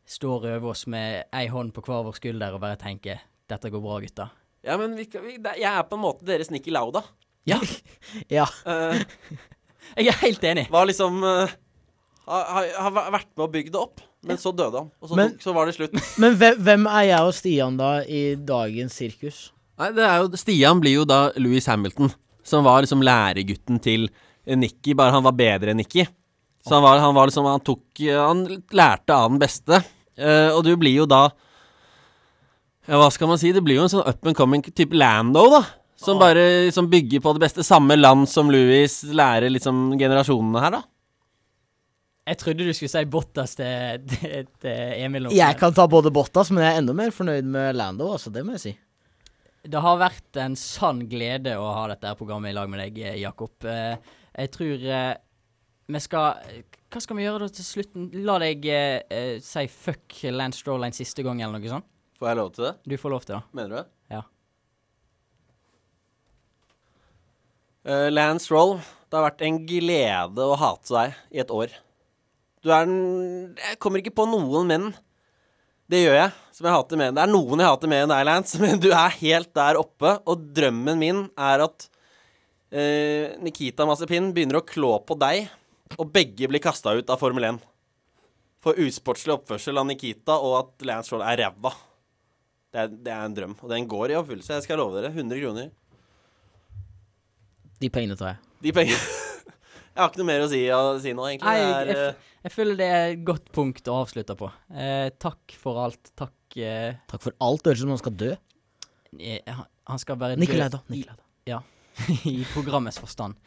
D: står over oss med ei hånd på hver vår skulder og bare tenker 'Dette går bra, gutta'.
E: Ja, men vi, kan- vi, det, jeg er på en måte deres Nikki Lauda.
D: Ja,
F: Ja.
E: Eh,
D: jeg er helt enig.
E: var liksom eh, har, har, har vært med og bygd det opp, men så døde han. Og så,
F: Men-
E: så var det slutt.
F: Men hvem, hvem er jeg og Stian da i dagens sirkus?
E: Nei, det er jo Stian blir jo da Louis Hamilton, som var liksom læregutten til Nikki, bare han var bedre enn Nikki. Så han var, han var liksom Han tok Han lærte av den beste. Eh, og du blir jo da Ja, hva skal man si? Det blir jo en sånn up and coming type Lando, da. Som bare som bygger på det beste. Samme land som Louis lærer liksom generasjonene her, da.
D: Jeg trodde du skulle si Bottas til, til, til Emil. nå.
F: Jeg kan ta både Bottas, men jeg er enda mer fornøyd med Lando, altså. Det må jeg si.
D: Det har vært en sann glede å ha dette her programmet i lag med deg, eh, Jakob. Eh, Jeg tror eh, vi skal Hva skal vi gjøre da til slutten? La deg eh, eh, si fuck Lance Stroll en siste gang, eller noe sånt?
E: Får jeg lov til det?
D: Du får lov til det.
E: Mener du det?
D: Ja.
E: Eh, Lance Roll, det har vært en glede å hate deg i et år. Du er den Jeg kommer ikke på noen menn. Det gjør jeg, som jeg hater mer enn Det er noen jeg hater mer enn deg, Lance, [laughs] men du er helt der oppe, og drømmen min er at eh, Nikita Mazepin begynner å klå på deg, og begge blir kasta ut av Formel 1. For usportslig oppførsel av Nikita, og at Lance Roll er ræva. Det er, det er en drøm, og den går i oppfyllelse. Jeg skal love dere. 100 kroner.
F: De pengene tar jeg.
E: De pengene [laughs] Jeg har ikke noe mer å si, å si nå, egentlig.
D: Nei,
E: Det
D: jeg,
E: er, eh,
D: f- jeg føler det er et godt punkt å avslutte på. Eh, takk for alt. Takk eh,
F: Takk for alt. Det høres ut som om han skal dø.
D: eh, Han han skal bare dø
F: Nicolai, da.
D: i, [laughs]
F: Nicolai, da.
D: i programmets forstand.